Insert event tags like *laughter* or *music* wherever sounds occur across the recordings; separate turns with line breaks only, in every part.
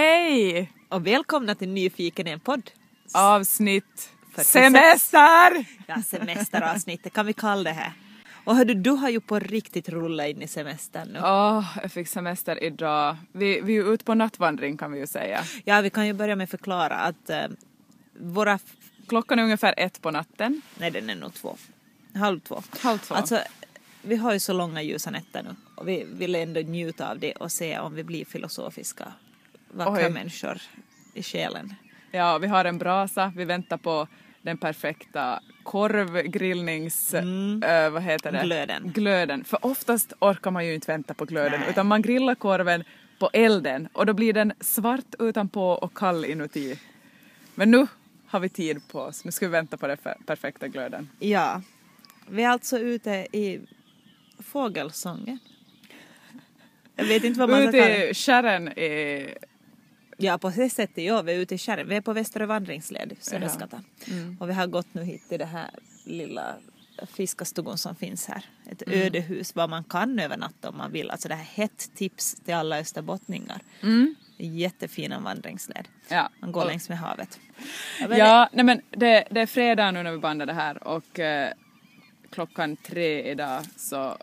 Hej!
Och välkomna till Nyfiken en podd.
Avsnitt
46.
semester!
Ja, semesteravsnittet kan vi kalla det här. Och hördu, du har ju på riktigt rullat in i semestern nu.
Åh, jag fick semester idag. Vi, vi är ju ute på nattvandring kan vi ju säga.
Ja, vi kan ju börja med att förklara att eh, våra... f-
Klockan är ungefär ett på natten.
Nej, den är nog två. Halv två.
Halv två.
Alltså, vi har ju så långa ljusa nätter nu och vi vill ändå njuta av det och se om vi blir filosofiska, vackra
Oj.
människor i själen.
Ja, vi har en brasa, vi väntar på den perfekta korvgrillnings... eh, vad heter det?
Mm. Glöden.
Glöden. För oftast orkar man ju inte vänta på glöden
Nej.
utan man grillar korven på elden och då blir den svart utanpå och kall inuti. Men nu har vi tid på oss, nu ska vi vänta på den fe- perfekta glöden.
Ja, vi är alltså ute i fågelsången. Jag vet inte vad man ska
Ute
kalla det.
i kärren i...
Ja, på det sättet, ja, vi är ute i kärren. Vi är på Västra vandringsled, Söderskatan.
Mm.
Och vi har gått nu hit till det här lilla fiskastugan som finns här. Ett
Mm.
ödehus, vad man kan övernatta om man vill. Alltså det här är hett tips till alla österbottningar. Jättefina vandringsled.
Mm. Ja.
Man går
Och-
längs med havet.
Ja, nej men det, det är fredag nu när vi bandar det här och eh, klockan tre idag så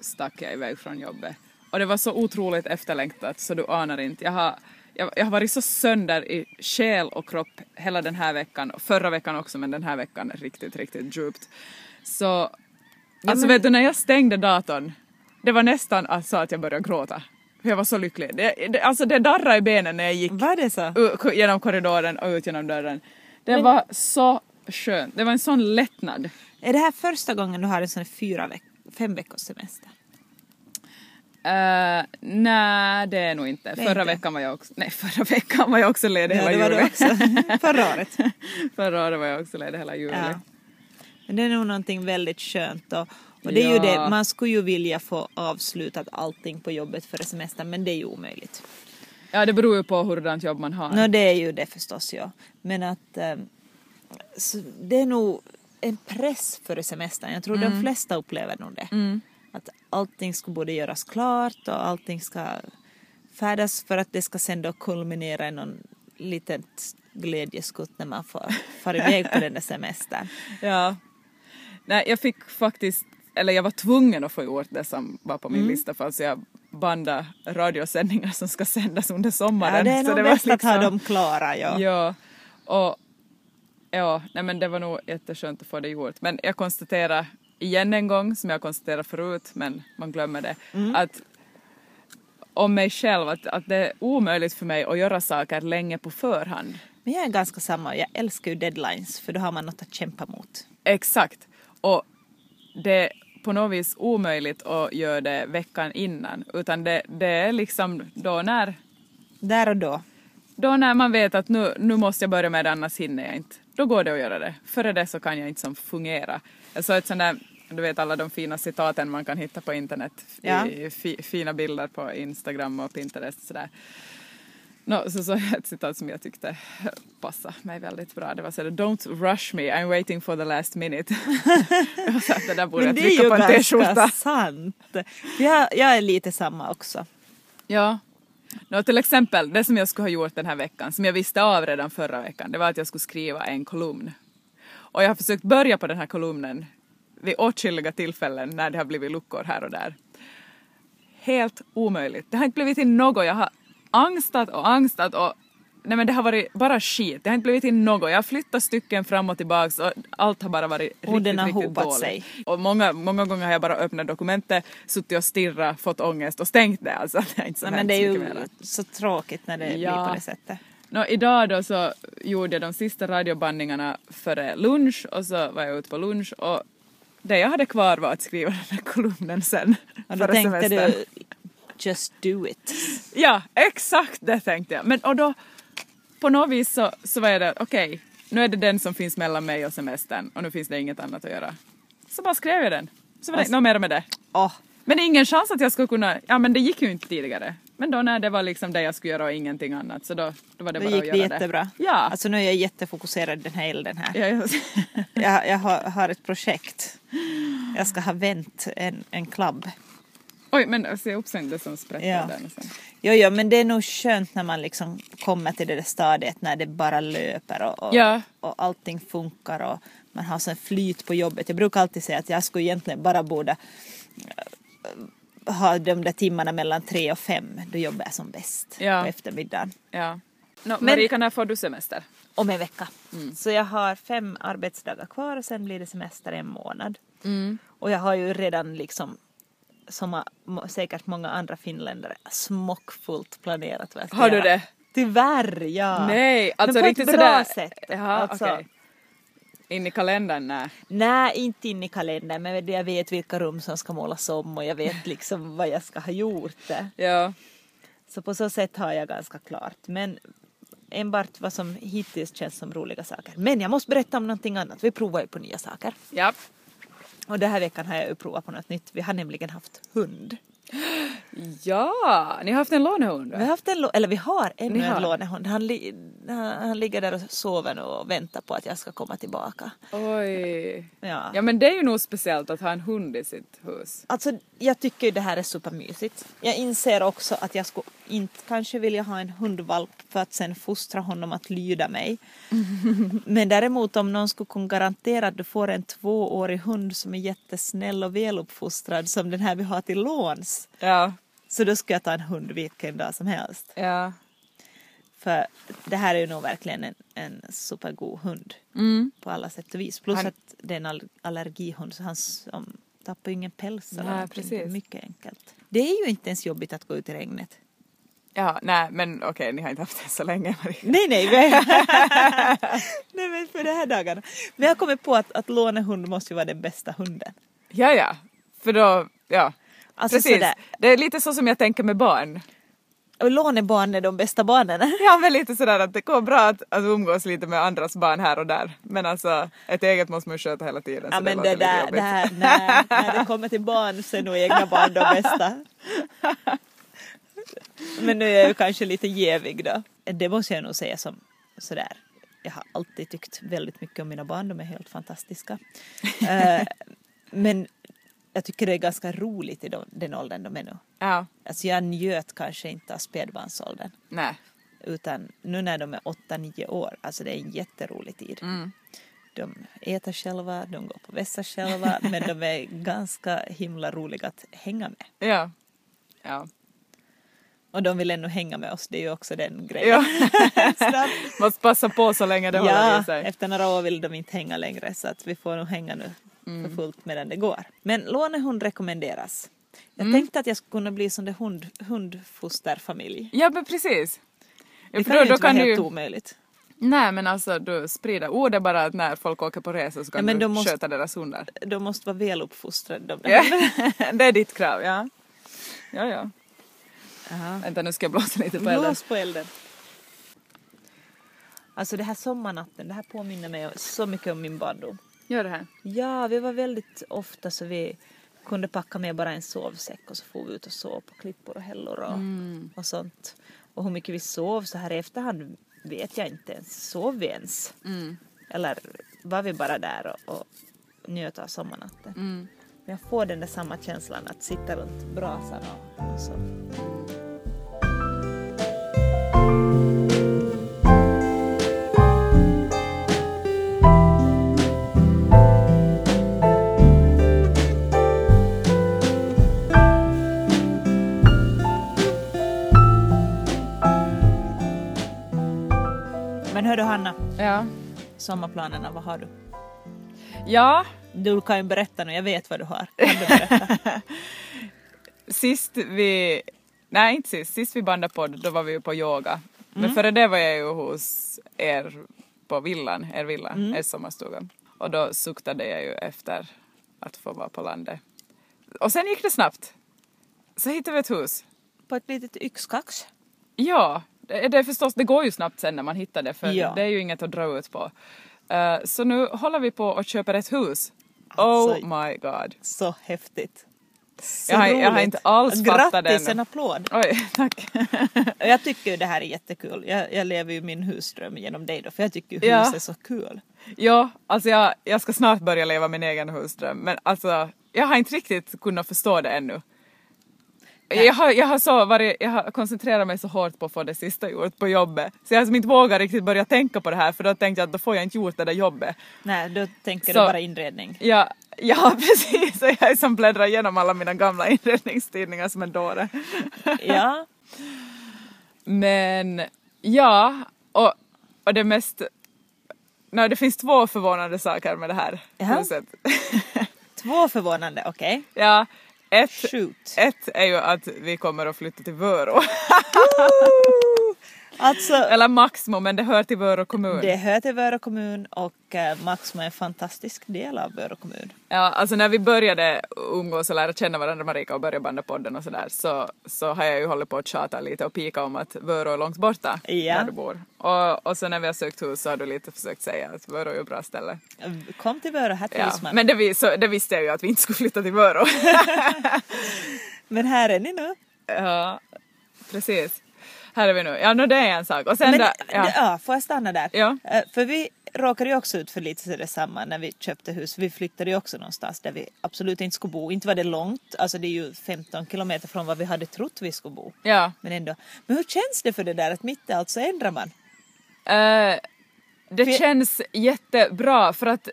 stack jag iväg från jobbet. Och det var så otroligt efterlängtat så du anar inte. Jag har, jag, jag har varit så sönder i själ och kropp hela den här veckan, och förra veckan också men den här veckan riktigt, riktigt djupt. Så, alltså vet du när jag stängde datorn, det var nästan alltså att jag började gråta. För jag var så lycklig. Det, det, alltså det darrade i benen när jag gick
Var det så?
U- genom korridoren och ut genom dörren. Det var så skönt. Det var en sån lättnad.
Är det här första gången du har en sån här fyra veck fem veckors semester?
Uh, nej, det är nog inte.
Det är
förra
inte.
veckan var jag också... Nej, *laughs* förra veckan var jag också ledig
Ja,
hela
det var det
juli.
också.
*laughs*
Förra året.
förra året var jag också ledig hela juli.
Ja. Men det är nog någonting väldigt skönt. Och, och det är ju
Ja.
det, man skulle ju vilja få avslutat allting på jobbet före semestern, men det är ju omöjligt.
Ja, det beror ju på hurdant jobb man har.
Nå, det är ju det förstås, ja. Men att eh, så det är nog en press före semestern. Jag tror de flesta upplever nog det. Att allting ska både göras klart och allting ska färdas för att det ska sen då kulminera i någon litet glädjeskutt när man får far iväg på den där semestern.
Ja. Nej, jag fick faktiskt, eller jag var tvungen att få gjort det som var på min
Mm.
lista för alltså jag bandade radiosändningar som ska sändas under sommaren.
Ja, det är
Så
nog
var
bäst att ha
liksom-
dem klara, ja.
Ja, och ja, nej men det var nog jätteskönt att få det gjort. Men jag konstaterar igen en gång, som jag konstaterat förut, men man glömmer det, att om mig själv, att, att det är omöjligt för mig att göra saker länge på förhand.
Men jag är ganska samma, jag älskar ju deadlines för då har man något att kämpa mot.
Exakt. Och det är på något vis omöjligt att göra det veckan innan, utan det, det är liksom då när,
Där och då.
då när man vet att nu, nu måste jag börja med det, annars hinner jag inte. Då går det att göra det. Före det så kan jag inte som fungera. Jag såg ett sånt där, du vet alla de fina citaten man kan hitta på internet. i-
Ja.
i fi, fina bilder på Instagram och Pinterest sådär. Nå, så såg jag ett citat som jag tyckte passade mig väldigt bra. Det var sådär “Don't rush me, I'm waiting for the last minute”. *laughs* jag var såhär, det där borde jag trycka på en t-skjorta.
sant. Jag, jag är lite samma också.
Ja. Nå, till exempel, det som jag skulle ha gjort den här veckan, som jag visste av redan förra veckan, det var att jag skulle skriva en kolumn. Och jag har försökt börja på den här kolumnen vid åtskilliga tillfällen när det har blivit luckor här och där. Helt omöjligt. Det har inte blivit till något. Jag har angstat och angstat och Nej men det har varit bara skit. Det har inte blivit till något. Jag har flyttat stycken fram och tillbaks och allt har bara varit riktigt,
Orden har
riktigt
hopat
dåligt.
sig.
Och många, många gånger har jag bara öppnat dokumentet, suttit och stirrat, fått ångest och stängt det. Alltså, det är inte så
Nej,
hänt
men det är
så mycket
ju
mer.
så tråkigt när det
Ja.
blir på det sättet.
Nå, idag då så gjorde jag de sista radiobandningarna före lunch och så var jag ute på lunch och det jag hade kvar var att skriva den här kolumnen sen.
Och då
före
tänkte
semestern.
du just do it.
Ja, exakt det tänkte jag. Men och då, på något vis så, så var jag där, okej, nu är det den som finns mellan mig och semestern och nu finns det inget annat att göra. Så bara skrev jag den. Så var det
Och s-
något mer med det.
Åh,
Men det är ingen chans att jag skulle kunna, ja men det gick ju inte tidigare. Men då när det var liksom det jag skulle göra och ingenting annat så då, då var det
då
bara
gick
att göra
det jättebra.
Ja.
Alltså nu är jag jättefokuserad i den här elden här.
Ja, jag- *laughs*
Jag, jag har, har ett projekt. Jag ska ha vänt en, en klubb.
Oj, men se upp sen det som sprätter
Ja.
där. Sen.
Jo, jo, men det är nog skönt när man liksom kommer till det där stadiet när det bara löper och, och,
Ja.
och allting funkar och man har sån flyt på jobbet. Jag brukar alltid säga att jag skulle egentligen bara borde eh, ha de där timmarna mellan tre och fem, då jobbar jag som bäst
Ja.
på eftermiddagen.
Ja. Nå, Marika, när får du semester?
Om en vecka. Så jag har fem arbetsdagar kvar och sen blir det semester i en månad. Och jag har ju redan liksom som har må- säkert många andra finländare smockfullt planerat vad jag ska
Har du
göra.
det?
Tyvärr ja.
Nej, alltså
Men på
riktigt
ett
sådär.
bra sätt.
Jaha,
alltså,
okej. In i kalendern? Nej.
Nej, inte in i kalendern men jag vet vilka rum som ska målas om och jag vet liksom vad jag ska ha gjort.
Ja.
Så på så sätt har jag ganska klart. Men enbart vad som hittills känns som roliga saker. Men jag måste berätta om någonting annat. Vi provar ju på nya saker.
Ja.
Och den här veckan har jag ju provat på något nytt. Vi har nämligen haft hund.
ja, ni har haft en lånehund?
Vi har haft en, lå- eller vi har
Ni
ännu
har.
en lånehund. Han, li, han, han ligger där och sover nu och väntar på att jag ska komma tillbaka.
Oj.
Ja.
Ja men det är ju nog speciellt att ha en hund i sitt hus.
Alltså jag tycker ju det här är supermysigt. Jag inser också att jag skulle inte kanske vilja ha en hundvalp för att sen fostra honom att lyda mig. Men däremot om någon skulle kunna garantera att du får en tvåårig hund som är jättesnäll och väluppfostrad som den här vi har till låns.
Ja.
Så då skulle jag ta en hund vilken dag som helst.
Ja.
För det här är ju nog verkligen en, en supergod hund
Mm.
på alla sätt och vis. Plus
Han-
att det är en all- allergihund så han s- om, tappar ju ingen päls eller
Nej,
någonting. Det är
precis.
mycket enkelt. Det är ju inte ens jobbigt att gå ut i regnet.
Ja, nej men okej, ni har inte haft det så länge Maria.
Nej, nej. Men... *laughs* nej, men för de här dagarna. Men jag har kommit på att, att lånehund måste ju vara den bästa hunden.
Ja, ja. För då, ja.
Alltså
Precis.
sådär.
Det är lite så som jag tänker med barn.
Och lånebarn är de bästa barnen.
Ja, men lite sådär att det går bra att, att umgås lite med andras barn här och där. Men alltså, ett eget måste man ju sköta hela tiden.
Ja
så
men
låter
det
lite
där,
jobbigt.
det här, när, när det kommer till barn så är nog egna barn de bästa. Men nu är jag ju kanske lite jävig då. Det måste jag nog säga som sådär. Jag har alltid tyckt väldigt mycket om mina barn, de är helt fantastiska. Eh, men jag tycker det är ganska roligt i de- den åldern de är nu.
Ja,
Alltså jag njöt kanske inte av spädbarnsåldern.
nej.
Utan nu när de är 8-9 år, alltså det är en jätterolig tid. De äter själva, de går på vässa själva, men de är ganska himla roliga att hänga med.
Ja. Ja.
Och de vill ännu hänga med oss, det är ju också den
ja.
*laughs* grejen. Snabbt.
Måste passa på så länge det håller i
ja,
sig.
efter några år vill de inte hänga längre så att vi får nog hänga nu
Mm.
för fullt medan det går. Men lånehund rekommenderas. Jag
Mm.
tänkte att jag skulle kunna bli som det hund, hundfosterfamilj.
Ja, men precis. Ja,
Det
för
kan ju
då
inte vara
kan du
helt
ju...
omöjligt.
Nej, men alltså du sprider ordet bara att när folk åker på resor så
Ja,
kan
men
du
de måste-
sköta deras hundar.
De måste vara väluppfostrade de där.
Ja, *laughs* det är ditt krav, ja. Ja, ja. Vänta, nu ska jag blåsa lite på elden.
Blås på elden. Alltså det här sommarnatten, det här påminner mig så mycket om min barndom.
Gör det här.
Ja, vi var väldigt ofta så vi kunde packa med bara en sovsäck och så får vi ut och sov på klippor och hällor och,
Mm,
och sånt. Och hur mycket vi sov så här i efterhand vet jag inte ens. Sov vi ens?
mm,
Eller var vi bara där och, och njöt av sommarnatten?
mm.
Men jag får den där samma känslan att sitta runt brasan och, och så. Men hördu Hanna,
Ja.
sommarplanerna, vad har du?
Ja,
Du kan ju berätta nu, jag vet vad du har.
sist vi... Nej, inte sist. Sist vi bandade podd, då var vi ju på yoga. Men före det var jag ju hos er på villan, er villa, er sommarstuga. Och då suktade jag ju efter att få vara på landet. Och sen gick det snabbt. Så hittade vi ett hus.
På ett litet yxkax.
Ja, det, det, är förstås, det går ju snabbt sen när man hittar det för
Ja.
det är ju inget att dra ut på. Eh, så nu håller vi på och köper ett hus.
Alltså-
oh my god.
Så häftigt. Så
Jag har- jag har
roligt.
inte alls
Grattis,
fattat det ännu.
en applåd.
Oj, *laughs* tack.
Och Jag tycker ju det här är jättekul. Jag, jag lever ju min husdröm genom dig då, för jag tycker ju hus
Ja.
är så kul.
Ja, alltså jag, jag ska snart börja leva min egen husdröm men alltså jag har inte riktigt kunnat förstå det ännu. Jag har, jag, har så varit, jag har koncentrerat mig så hårt på att få det sista gjort på jobbet så jag har som inte vågat riktigt börja tänka på det här för då tänkte jag att då får jag inte gjort det där jobbet.
Nej, då tänker
Så-
du bara inredning.
Ja, ja *laughs* precis, och jag är som bläddrar igenom alla mina gamla inredningstidningar som en dåre.
Ja,
Men ja, och, och det mest... Nej, det finns två förvånande saker med det här
Jaha.
huset.
två förvånande, okej.
Ja, ett,
Shoot.
ett är ju att vi kommer att flytta till Vörå. *laughs*
Alltså,
Eller Maxmo, men det hör till Vörå kommun.
det hör till Vörå kommun och eh, Maxmo är en fantastisk del av Vörå kommun.
Ja, alltså när vi började umgås och lära känna varandra, Marika, och började banda podden och sådär, så, så har jag ju hållit på att tjata lite och pika om att Vörå är långt borta
Ja.
där du bor. Och, och så när vi har sökt hus så har du lite försökt säga att Vörå är ett bra ställe.
Kom till Vörå, här
Ja.
trivs man.
Men
Men...
det, vi, så, det visste jag ju att vi inte skulle flytta till Vörå. *laughs*
här är ni nu.
ja, precis. Här är vi nu. Ja, no, det är en sak. Och sen
Men,
där,
ja.
ja.
får jag stanna där?
Ja.
Eh, För vi råkade ju också ut för lite så detsamma när vi köpte hus. Vi flyttade ju också någonstans där vi absolut inte skulle bo. Inte var det långt, alltså det är ju 15 kilometer från vad vi hade trott vi skulle bo.
ja.
Men ändå. Men hur känns det för det där att mitt i allt så ändrar man?
Eh, det
För-
känns jättebra för att,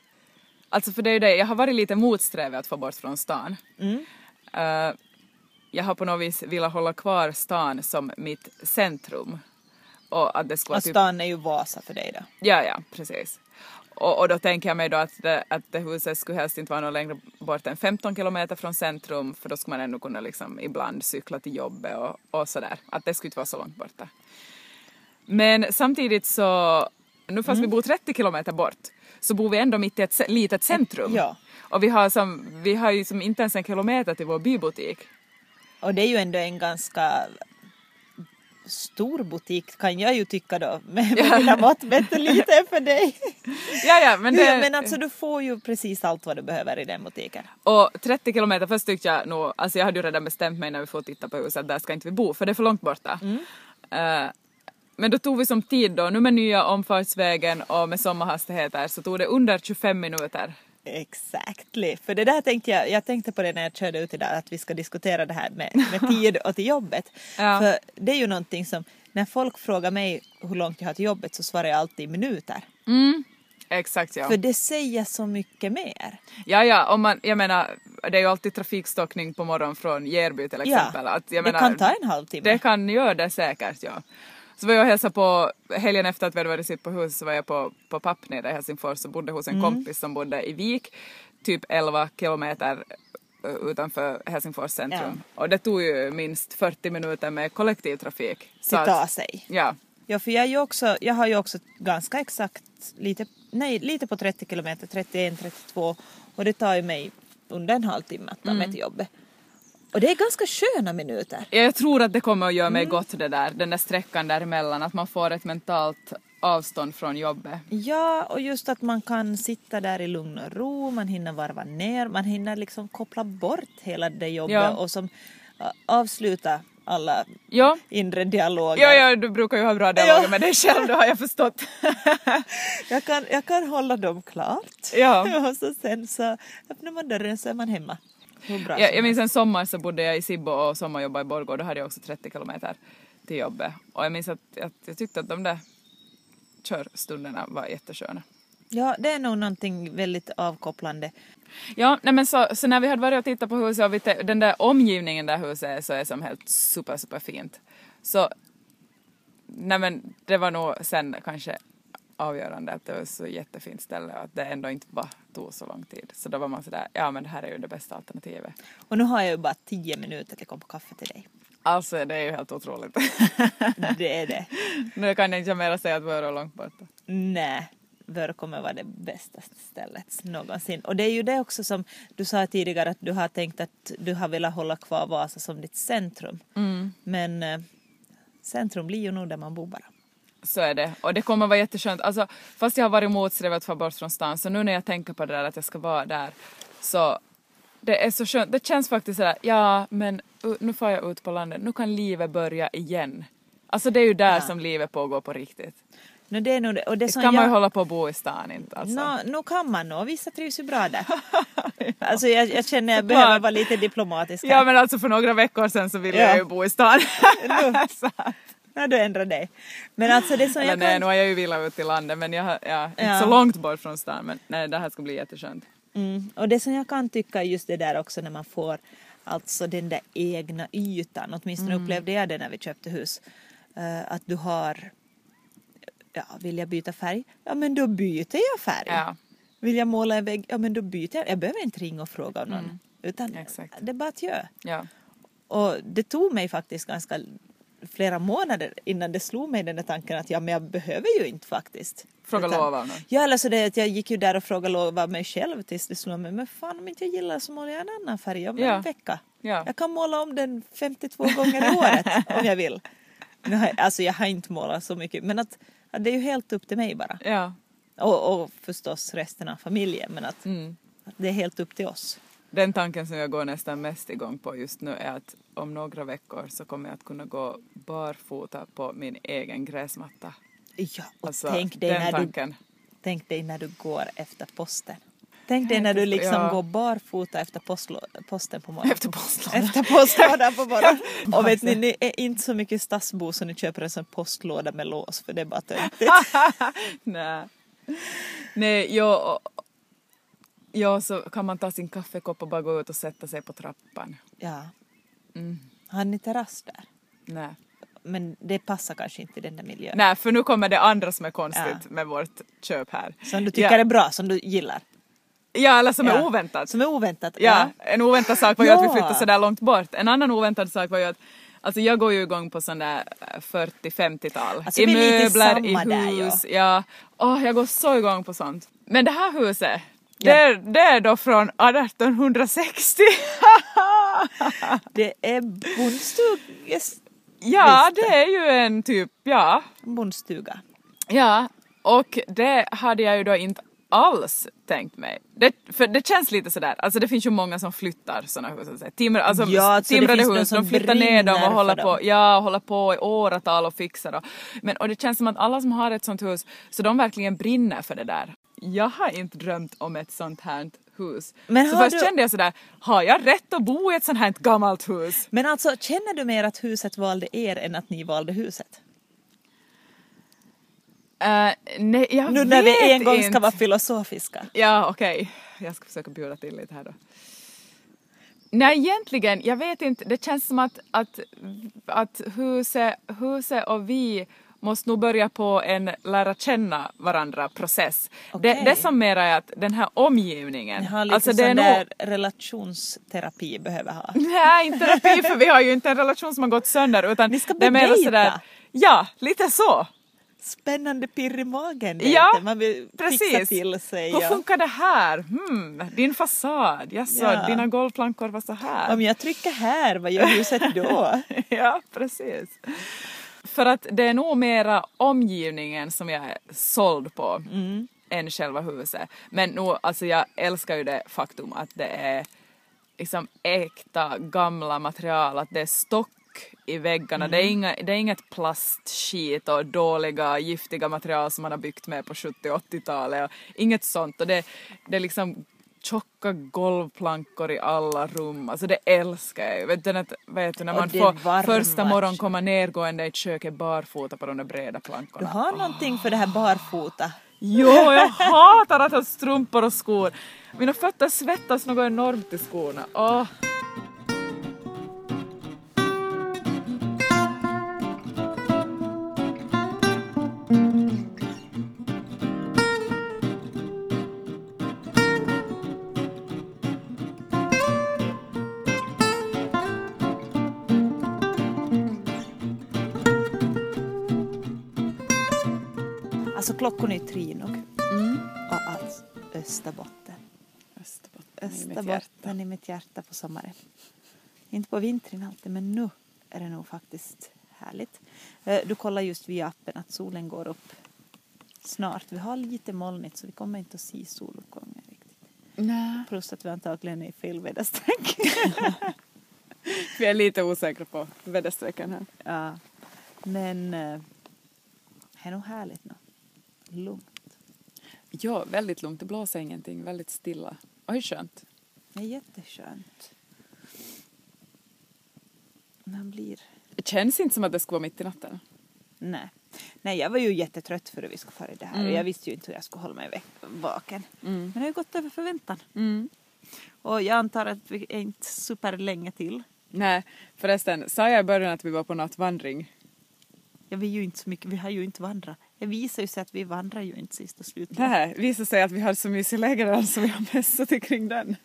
alltså för det är ju det, jag har varit lite motsträvig att få bort från stan. Eh, jag har på något vis velat hålla kvar stan som mitt centrum. Och att det skulle vara
Och
typ
stan är ju Vasa för dig då.
Ja, ja, precis. Och, och då tänker jag mig då att det, att det huset skulle helst inte vara något längre bort än 15 kilometer från centrum för då skulle man ändå kunna liksom ibland cykla till jobbet och, och sådär. Att det skulle inte vara så långt borta. Men samtidigt så, nu fast
Mm.
vi bor 30 kilometer bort så bor vi ändå mitt i ett ce- litet centrum.
Ja.
Och vi har, som, vi har ju som inte ens en kilometer till vår bybutik.
Och det är ju ändå en ganska stor butik kan jag ju tycka då. *laughs* Men med mina mått mätt är lite än för dig.
Ja, ja, men
Men,
det...
men alltså du får ju precis allt vad du behöver i den butiken.
Och 30 kilometer, först tyckte jag nog, alltså jag hade ju redan bestämt mig när vi får titta på huset, där ska inte vi bo för det är för långt borta.
Mm.
Eh, men då tog vi som tid då, nu med nya omfartsvägen och med sommarhastigheter så tog det under 25 minuter.
Exactly. För det där tänkte jag, jag tänkte på det när jag körde ut idag att vi ska diskutera det här med,
*laughs*
med tid och till jobbet.
Ja.
För det är ju någonting som, när folk frågar mig hur långt jag har till jobbet så svarar jag alltid i minuter.
Exakt ja.
För det säger så mycket mer.
Ja, ja, om man, jag menar, det är ju alltid trafikstockning på morgonen från Järby till exempel. Att, jag
det
menar,
kan ta en halvtimme.
Det kan göra det säkert, ja. Så var jag och hälsade på, helgen efter att vi hade varit sitt på hus så var jag på, på papp nere i Helsingfors och bodde hos
Mm.
en kompis som bodde i Vik, typ 11 kilometer eh, utanför Helsingfors centrum. Och det tog ju minst 40 minuter med kollektivtrafik. Så
Till ta sig.
ja,
Ja, för jag, är ju också, jag har ju också ganska exakt lite, nej, lite på 30 kilometer, 31, 32 och det tar ju mig under en halvtimme att ta
Mm.
mig till jobbet. Och det är ganska sköna minuter.
Ja, Jag tror att det kommer att göra
Mm.
mig gott det där, den där sträckan däremellan, att man får ett mentalt avstånd från jobbet.
Ja, och just att man kan sitta där i lugn och ro, man hinner varva ner, man hinner liksom koppla bort hela det jobbet
Ja.
och som, ja, avsluta alla
Ja,
inre dialoger.
ja, ja du brukar ju ha bra dialoger
Ja.
med dig själv, det har jag förstått.
Jag, kan, jag kan hålla dem klart.
Ja.
*laughs* och så sen så öppnar man dörren så är man hemma. Hur bra
Jag,
som
jag minns en sommar så bodde jag i Sibbo och sommarjobbade i Borgå och då hade jag också 30 kilometer till jobbet. Och jag minns att, att jag tyckte att de där körstunderna var jättesköna.
Ja, det är nog någonting väldigt avkopplande.
Ja, nej men så, så när vi hade varit och tittat på huset och vi te- den där omgivningen där huset är så är som helt super, super fint. Så nej men det var nog sen kanske avgörande att det var så jättefint ställe och att det ändå inte var, tog så lång tid. Så då var man sådär, ja men det här är ju det bästa alternativet.
Och nu har jag ju bara tio minuter till kopp kaffe till
*laughs*
dig.
Alltså det är ju helt otroligt.
Det är det.
Nu kan jag inte mer säga att Vörå är långt borta.
Nej, Vörå kommer vara det bästa stället någonsin. Och det är ju det också som du sa tidigare att du har tänkt att du har velat hålla kvar Vasa som ditt centrum.
Mm.
Men eh, centrum blir ju nog där man bor bara.
Så är det. Och det kommer vara jätteskönt. Alltså, fast jag har varit motsträvig att få bort från stan så nu när jag tänker på det där att jag ska vara där så det är så skönt. Det känns faktiskt sådär, ja men u- nu får jag ut på landet, nu kan livet börja igen. Alltså det är ju där som livet pågår på riktigt.
No, det är nog det. Och det som
kan man ju
jag-
hålla på att bo i stan inte alltså.
Nå, nu kan man nog, vissa trivs ju
*laughs*
bra där. Alltså jag, jag känner jag behöver vara lite diplomatisk här.
Ja
*laughs*
men alltså för några veckor sedan så ville
Ja.
jag ju bo i stan. Så-
Nå, du ändrar dig. Men alltså det
*laughs*
som
Eller
jag
nej,
kan...
nu har jag ju vilat ute i landet men jag har, ja, inte
Ja.
så långt bort från stan men nej det här ska bli jätteskönt.
Mm. Och det som jag kan tycka är just det där också när man får alltså den där egna ytan, åtminstone
Mm.
upplevde jag det när vi köpte hus, Eh, att du har, ja vill jag byta färg? Ja men då byter jag färg.
Ja.
Vill jag måla en vägg? Ja men då byter jag, jag behöver inte ringa och fråga av någon. Utan
Mm. Exakt.
det är bara att göra.
Ja.
Och det tog mig faktiskt ganska flera månader innan det slog mig den där tanken att ja men jag behöver ju inte faktiskt.
Fråga lov av någon.
Ja eller så det är att jag gick ju där och frågade lov av mig själv tills det slog mig men fan om inte jag gillar så målar jag en annan färg om
Ja.
en vecka.
Ja.
Jag kan måla om den 52 gånger i året om jag vill. Nu har jag- Alltså jag har inte målat så mycket men att, att det är ju helt upp till mig bara.
Ja.
Och, och förstås resten av familjen men att,
Mm.
att det är helt upp till oss.
Den tanken som jag går nästan mest igång på just nu är att om några veckor så kommer jag att kunna gå barfota på min egen gräsmatta.
Ja och
Alltså,
tänk dig
den
när du
tanken. *laughs*
Tänk dig när du går efter posten. Tänk dig när du liksom
Ja.
går barfota efter postlå- posten på morgonen.
Efter postlådan.
Efter postlådan
*laughs*
på morgonen. Och vet ni, ni är inte så mycket stadsbo så ni köper en sån postlåda med lås för det är
*laughs*
bara töntigt.
Nej. Nej, jag... Ja, så kan man ta sin kaffekopp och bara gå ut och sätta sig på trappan.
Ja.
Mm.
Har ni terrass där?
Nej.
Men det passar kanske inte i den där miljön.
Nej, för nu kommer det andra som är konstigt
Ja.
med vårt köp här.
Som du tycker
ja.
är bra, som du gillar.
Ja, eller som är
Ja.
oväntat.
Som är oväntat.
Ja, en oväntad sak var ju att vi
Ja.
flyttade sådär långt bort. En annan oväntad sak var ju att Alltså jag går ju igång på sån där eh, 40-50-tal.
Alltså
I
vi är lite
möbler,
samma
i
där, ja.
hus. ja. Åh, jag går så igång på sånt. Men det här huset, det, är, det är då från 1860.
Det är bondstuga.
*laughs* ja,
Visst.
det är ju en typ, ja.
bondstuga.
Ja, och det hade jag ju då inte alls tänkt mig. Det, för det känns lite sådär, alltså det finns ju många som flyttar sådana hus. Så timra, alltså,
Ja, alltså det
timrade
finns någon
hus, de
som
flyttar ner dem
brinner
och
för
håller på,
dem.
ja, och håller på i åratal och fixar. Och, men, och det känns som att alla som har ett sånt hus, så de verkligen brinner för det där. Jag har inte drömt om ett sånt här hus.
Men
så
har
först
du-
kände jag sådär, har jag rätt att bo i ett sånt här gammalt hus?
Men alltså känner du mer att huset valde er än att ni valde huset?
Eh, nej, jag
Nu när vi
vet
en gång
inte.
ska vara filosofiska.
Ja, okej. Jag ska försöka bjuda till lite här då. Nej, egentligen, jag vet inte. Det känns som att, att, att huset, huset och vi måste nog börja på en lära känna varandra-process. Det,
Okej.
det som mera är att den här omgivningen.
Ni har lite
alltså,
sån
det är nog-
där relationsterapi behöver ha.
*laughs* Nej, inte terapi för vi har ju inte en relation som har gått sönder utan
Ni ska
det är mera
bedejta.
sådär, ja, lite så.
Spännande pirr i magen. vet
Ja,
du. Man vill fixa
Precis.
till sig.
Hur
Och...
funkar det här? Hmm, din fasad, jaså,
Ja.
dina golvplankor var så här.
Om jag trycker här, vad gör huset då?
*laughs* ja, precis. För att det är nog mera omgivningen som jag är såld på
Mm.
än själva huset. Men nog, alltså jag älskar ju det faktum att det är liksom äkta gamla material, att det är stock i väggarna.
Mm.
Det, är inga, det är inget plastskit och dåliga giftiga material som man har byggt med på 70 och 80-talet. och Inget sånt. Och det, det är liksom tjocka golvplankor i alla rum. Alltså det älskar jag ju. Vet du, när- vet du, när
Och
man
det
får
varma
första morgon
köket.
komma nergående i köket barfota på de där breda
Du
plankorna.
har någonting för det här barfota.
Jo, jag hatar att ha strumpor och skor. Mina fötter svettas något enormt i skorna. Åh.
Alltså klockan är tre nog.
Mm.
alltså, Och alls Österbotten.
Österbotten, i mitt hjärta.
Österbotten i mitt hjärta på sommaren. Inte på vintern alltid, men nu är det nog faktiskt härligt. Eh, Du kollar just via appen att solen går upp snart. Vi har lite molnigt så vi kommer inte att se soluppgången riktigt.
Nej.
Plus att vi antagligen är i fel väderstreck.
Vi är lite osäkra på väderstrecken här.
ja. Men eh, det är nog härligt nu. lugnt.
Ja, väldigt lugnt. Det blåser ingenting. Väldigt stilla. Oj, skönt.
Det är jätteskönt. Man blir...
Det känns inte som att det skulle vara mitt i natten.
Nej. Nej, jag var ju jättetrött före vi skulle fara i det här
Mm.
och jag visste ju inte hur jag skulle hålla mig väck- vaken.
Mm.
Men det har ju gått över förväntan.
Mm.
Och jag antar att vi är inte superlänge till.
Nej, förresten, sa jag i början att vi var på nattvandring?
Ja, vi, är ju inte så mycket, vi har ju inte vandrat. Det visar ju sig att vi vandrar ju inte sist och slutligen.
Nej, visade sig att vi hade så mysig lägereld så vi har mässat kring den.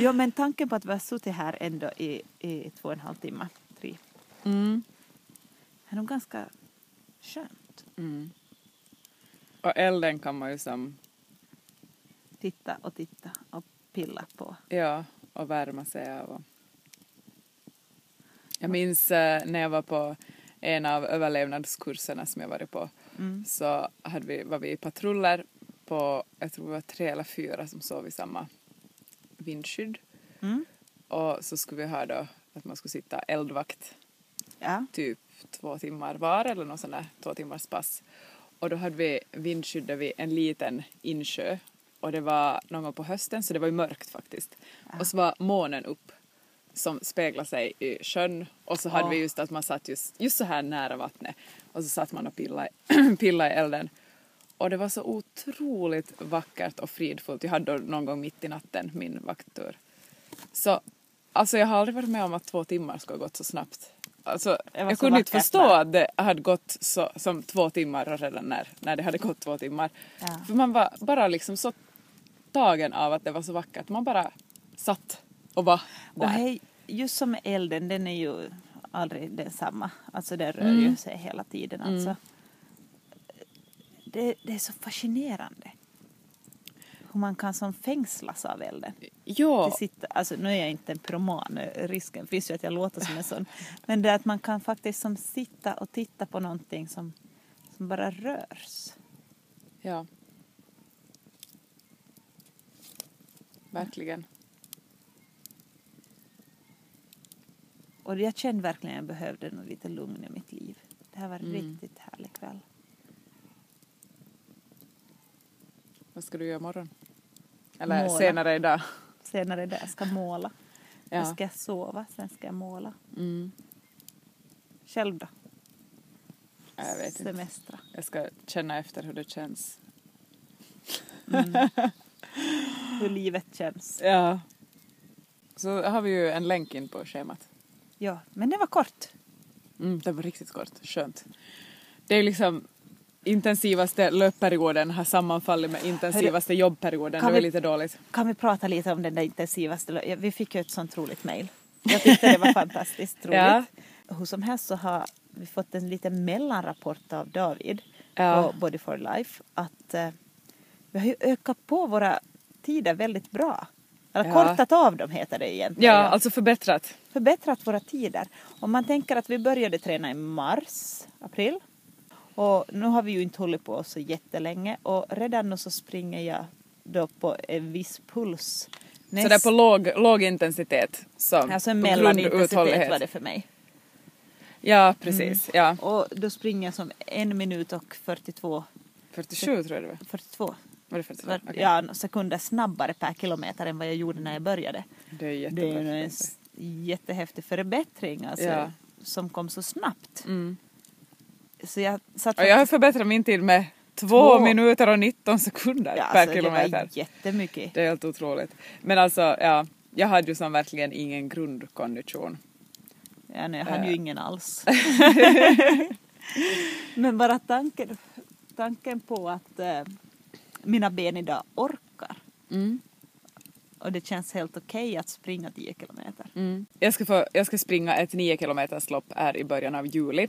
Ja, men tanken på att vi har suttit här ändå i, i två och en halv timme, tre,
Mm.
är nog ganska skönt.
Mm. Och elden kan man ju som,
Titta och titta och pilla på.
ja, och värma sig av. och- Jag minns eh, när jag var på en av överlevnadskurserna som jag varit på
Mm.
så hade vi, var vi i patruller på, jag tror vi var tre eller fyra som sov i samma vindskydd.
Mm.
Och så skulle vi ha då att man skulle sitta eldvakt
Ja.
typ två timmar var eller något sånt där två timmars pass. Och då hade vi vindskyddet vid en liten insjö och det var någon gång på hösten så det var ju mörkt faktiskt. Och så var månen upp som speglade sig i sjön och så hade
Åh.
vi just att man satt just, just så här nära vattnet och så satt man och pillade, *clears throat* pillade i elden. Och det var så otroligt vackert och fridfullt. Jag hade då någon gång mitt i natten min vakttur. Så alltså jag har aldrig varit med om att två timmar ska ha gått så snabbt. Alltså,
Det var
jag
så
kunde inte
vackert,
förstå
va?
att det hade gått så, som två timmar och redan när, när det hade gått två timmar.
Ja.
För man var bara liksom så tagen av att det var så vackert. Man bara satt och var där.
Och hej, just som med elden, den är ju aldrig densamma. Alltså den rör
Mm.
ju sig hela tiden. Alltså. Det, det är så fascinerande hur man kan som fängslas av elden.
ja,
Det sitter, alltså, nu är jag inte en proman, risken finns ju att jag låter som
*laughs*
en sån. Men det är att man kan faktiskt som sitta och titta på någonting som, som bara rörs.
ja. Verkligen.
Och jag kände verkligen att jag behövde nog lite lugn i mitt liv. Det här var
Mm.
en riktigt härlig kväll.
Vad ska du göra imorgon? Eller
Måla.
senare idag?
Senare där ska jag måla.
Ja.
Nu ska jag sova, sen ska jag måla.
Mm.
Själv då?
Jag vet inte.
Semestra.
Jag ska känna efter hur det känns.
Hur livet känns.
Ja. Så har vi ju en länk in på schemat.
Ja, men det var kort.
Mm, det var riktigt kort. Skönt. Det är ju liksom intensivaste löpperioden har sammanfallit med intensivaste jobbperioden.
kan
det var
vi-
lite dåligt.
Kan vi prata lite om den där intensivaste... lö- ja, Vi fick ju ett sånt roligt mejl. Jag tyckte det
*laughs*
var fantastiskt roligt.
Ja.
Hur som helst så har vi fått en liten mellanrapport av David
Ja.
på Body for Life att eh, vi har ju ökat på våra tider väldigt bra. Eller
Ja.
kortat av dem heter det egentligen.
Ja, alltså förbättrat.
förbättrat våra tider. Om man tänker att vi började träna i mars, april. Och nu har vi ju inte hållit på så jättelänge och redan nu så springer jag då på en viss puls.
Så det är på låg, låg intensitet. Som
alltså en
grund-
mellanintensitet
uthållighet.
var det för mig.
Ja, precis. Ja.
Och då springer jag som en minut och 42,
47 tror jag det var.
42
Var det 42?
var,
Okej.
ja, sekunder snabbare per kilometer än vad jag gjorde när jag började.
Det är jättebra.
Det är ju en s- jättehäftig förbättring alltså,
Ja.
som kom så snabbt.
Mm.
Så jag satt
Och jag har förbättrat min tid med två,
Två.
minuter och 19 sekunder
Ja,
per
alltså, Det
kilometer.
var jättemycket.
Det är helt otroligt. Men alltså, ja, jag hade ju som verkligen ingen grundkondition.
Ja, nej, jag hade
Eh.
ju
*laughs*
ingen alls. Men bara tanken, tanken på att eh, mina ben idag orkar
Mm.
och det känns helt okej att springa 10 kilometer.
Mm. Jag, ska få, jag ska springa ett 9 kilometers lopp här i början av juli.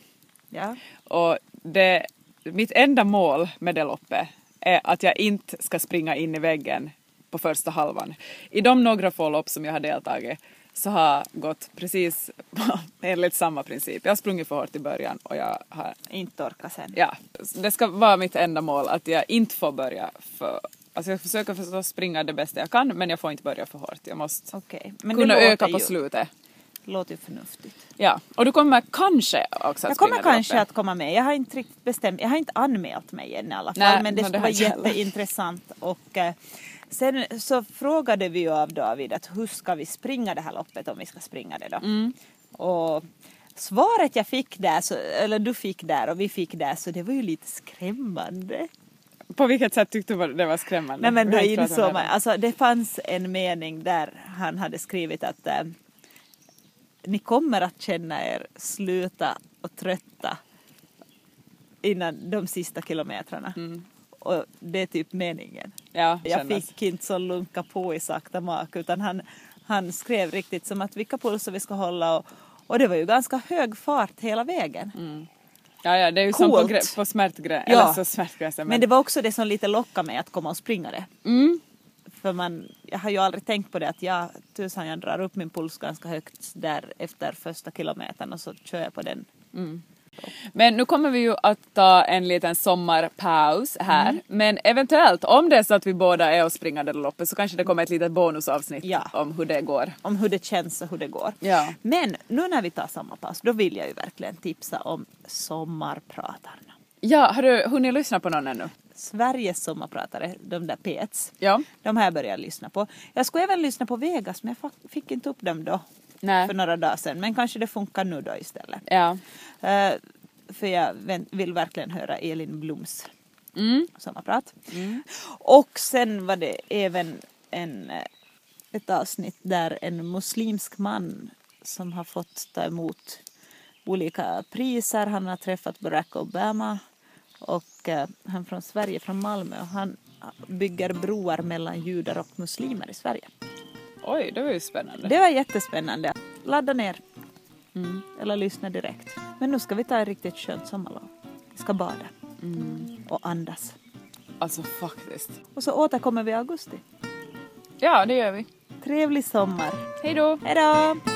Ja.
Och det, mitt enda mål med det loppet är att jag inte ska springa in i väggen på första halvan. I de några få lopp som jag har deltagit så har jag gått precis *laughs* enligt samma princip. Jag har sprungit för hårt i början och jag har
Inte orka sen.
Ja, det ska vara mitt enda mål att jag inte får börja för... Alltså jag försöker förstås springa det bästa jag kan men jag får inte börja för hårt. Jag måste
Okej. Men det
kunna
låter
öka på
ju-
slutet.
låter ju förnuftigt.
Ja, och du kommer kanske också att
Jag kommer
springa där
kanske
uppe.
att komma med. Jag har inte riktigt bestämt. Jag har inte anmält mig än i alla fall.
Nej,
men det
men det
skulle
har
vara
jag heller.
jätteintressant. Och, eh, sen så frågade vi ju av David att hur ska vi springa det här loppet om vi ska springa det då.
Mm.
Och svaret jag fick där, så, eller du fick där och vi fick där, så det var ju lite skrämmande.
På vilket sätt tyckte du det var skrämmande?
Nej men
Vi
då
har inte pratat
insåg
om det
man,
här.
alltså det fanns en mening där han hade skrivit att eh, ni kommer att känna er sluta och trötta innan de sista kilometrarna.
Mm.
Och det är typ meningen.
Ja,
Jag
kändes.
fick inte så lunka på i sakta mak utan han, han skrev riktigt som att vilka pulser vi ska hålla och, och det var ju ganska hög fart hela
Mm.
vägen.
Ja, ja, det är ju som på,
Coolt.
grä, på smärtgrä,
Ja.
eller så smärtgränsen.
Men det var också det som lite lockade mig att komma och springa det.
mm,
För man, jag har ju aldrig tänkt på det att jag, tusan jag drar upp min puls ganska högt där efter första kilometern och så kör jag på den.
Men nu kommer vi ju att ta en liten sommarpaus här.
Mm.
Men eventuellt, om det är så att vi båda är och springer det där loppet så kanske det kommer ett litet bonusavsnitt
Ja.
om hur det går.
Om hur det känns och hur det går.
Ja.
Men nu när vi tar samma pass, då vill jag ju verkligen tipsa om sommarpratarna.
Ja, har du hunnit lyssna på någon ännu?
Sveriges sommarpratare, de där P1.
Ja.
De här började jag lyssna på. Jag skulle även lyssna på Vegas men jag fa- fick inte upp dem då.
Nej.
För några dagar sedan. Men kanske det funkar nu då istället.
Ja.
Eh, för jag vän- vill verkligen höra Elin Bloms
Mm.
sommarprat. Och sen var det även en, eh, ett avsnitt där en muslimsk man som har fått ta emot olika priser. Han har träffat Barack Obama och eh, han är från Sverige, från Malmö. Och han bygger broar mellan judar och muslimer i Sverige.
Oj, det var ju spännande.
Det var jättespännande. Ladda ner. Mm. Eller lyssna direkt. Men nu ska vi ta ett riktigt skönt sommarlov. Vi ska bada. Och andas.
Alltså faktiskt.
Och så återkommer vi i augusti.
Ja, det gör vi.
Trevlig sommar.
Hej då!
Hej då!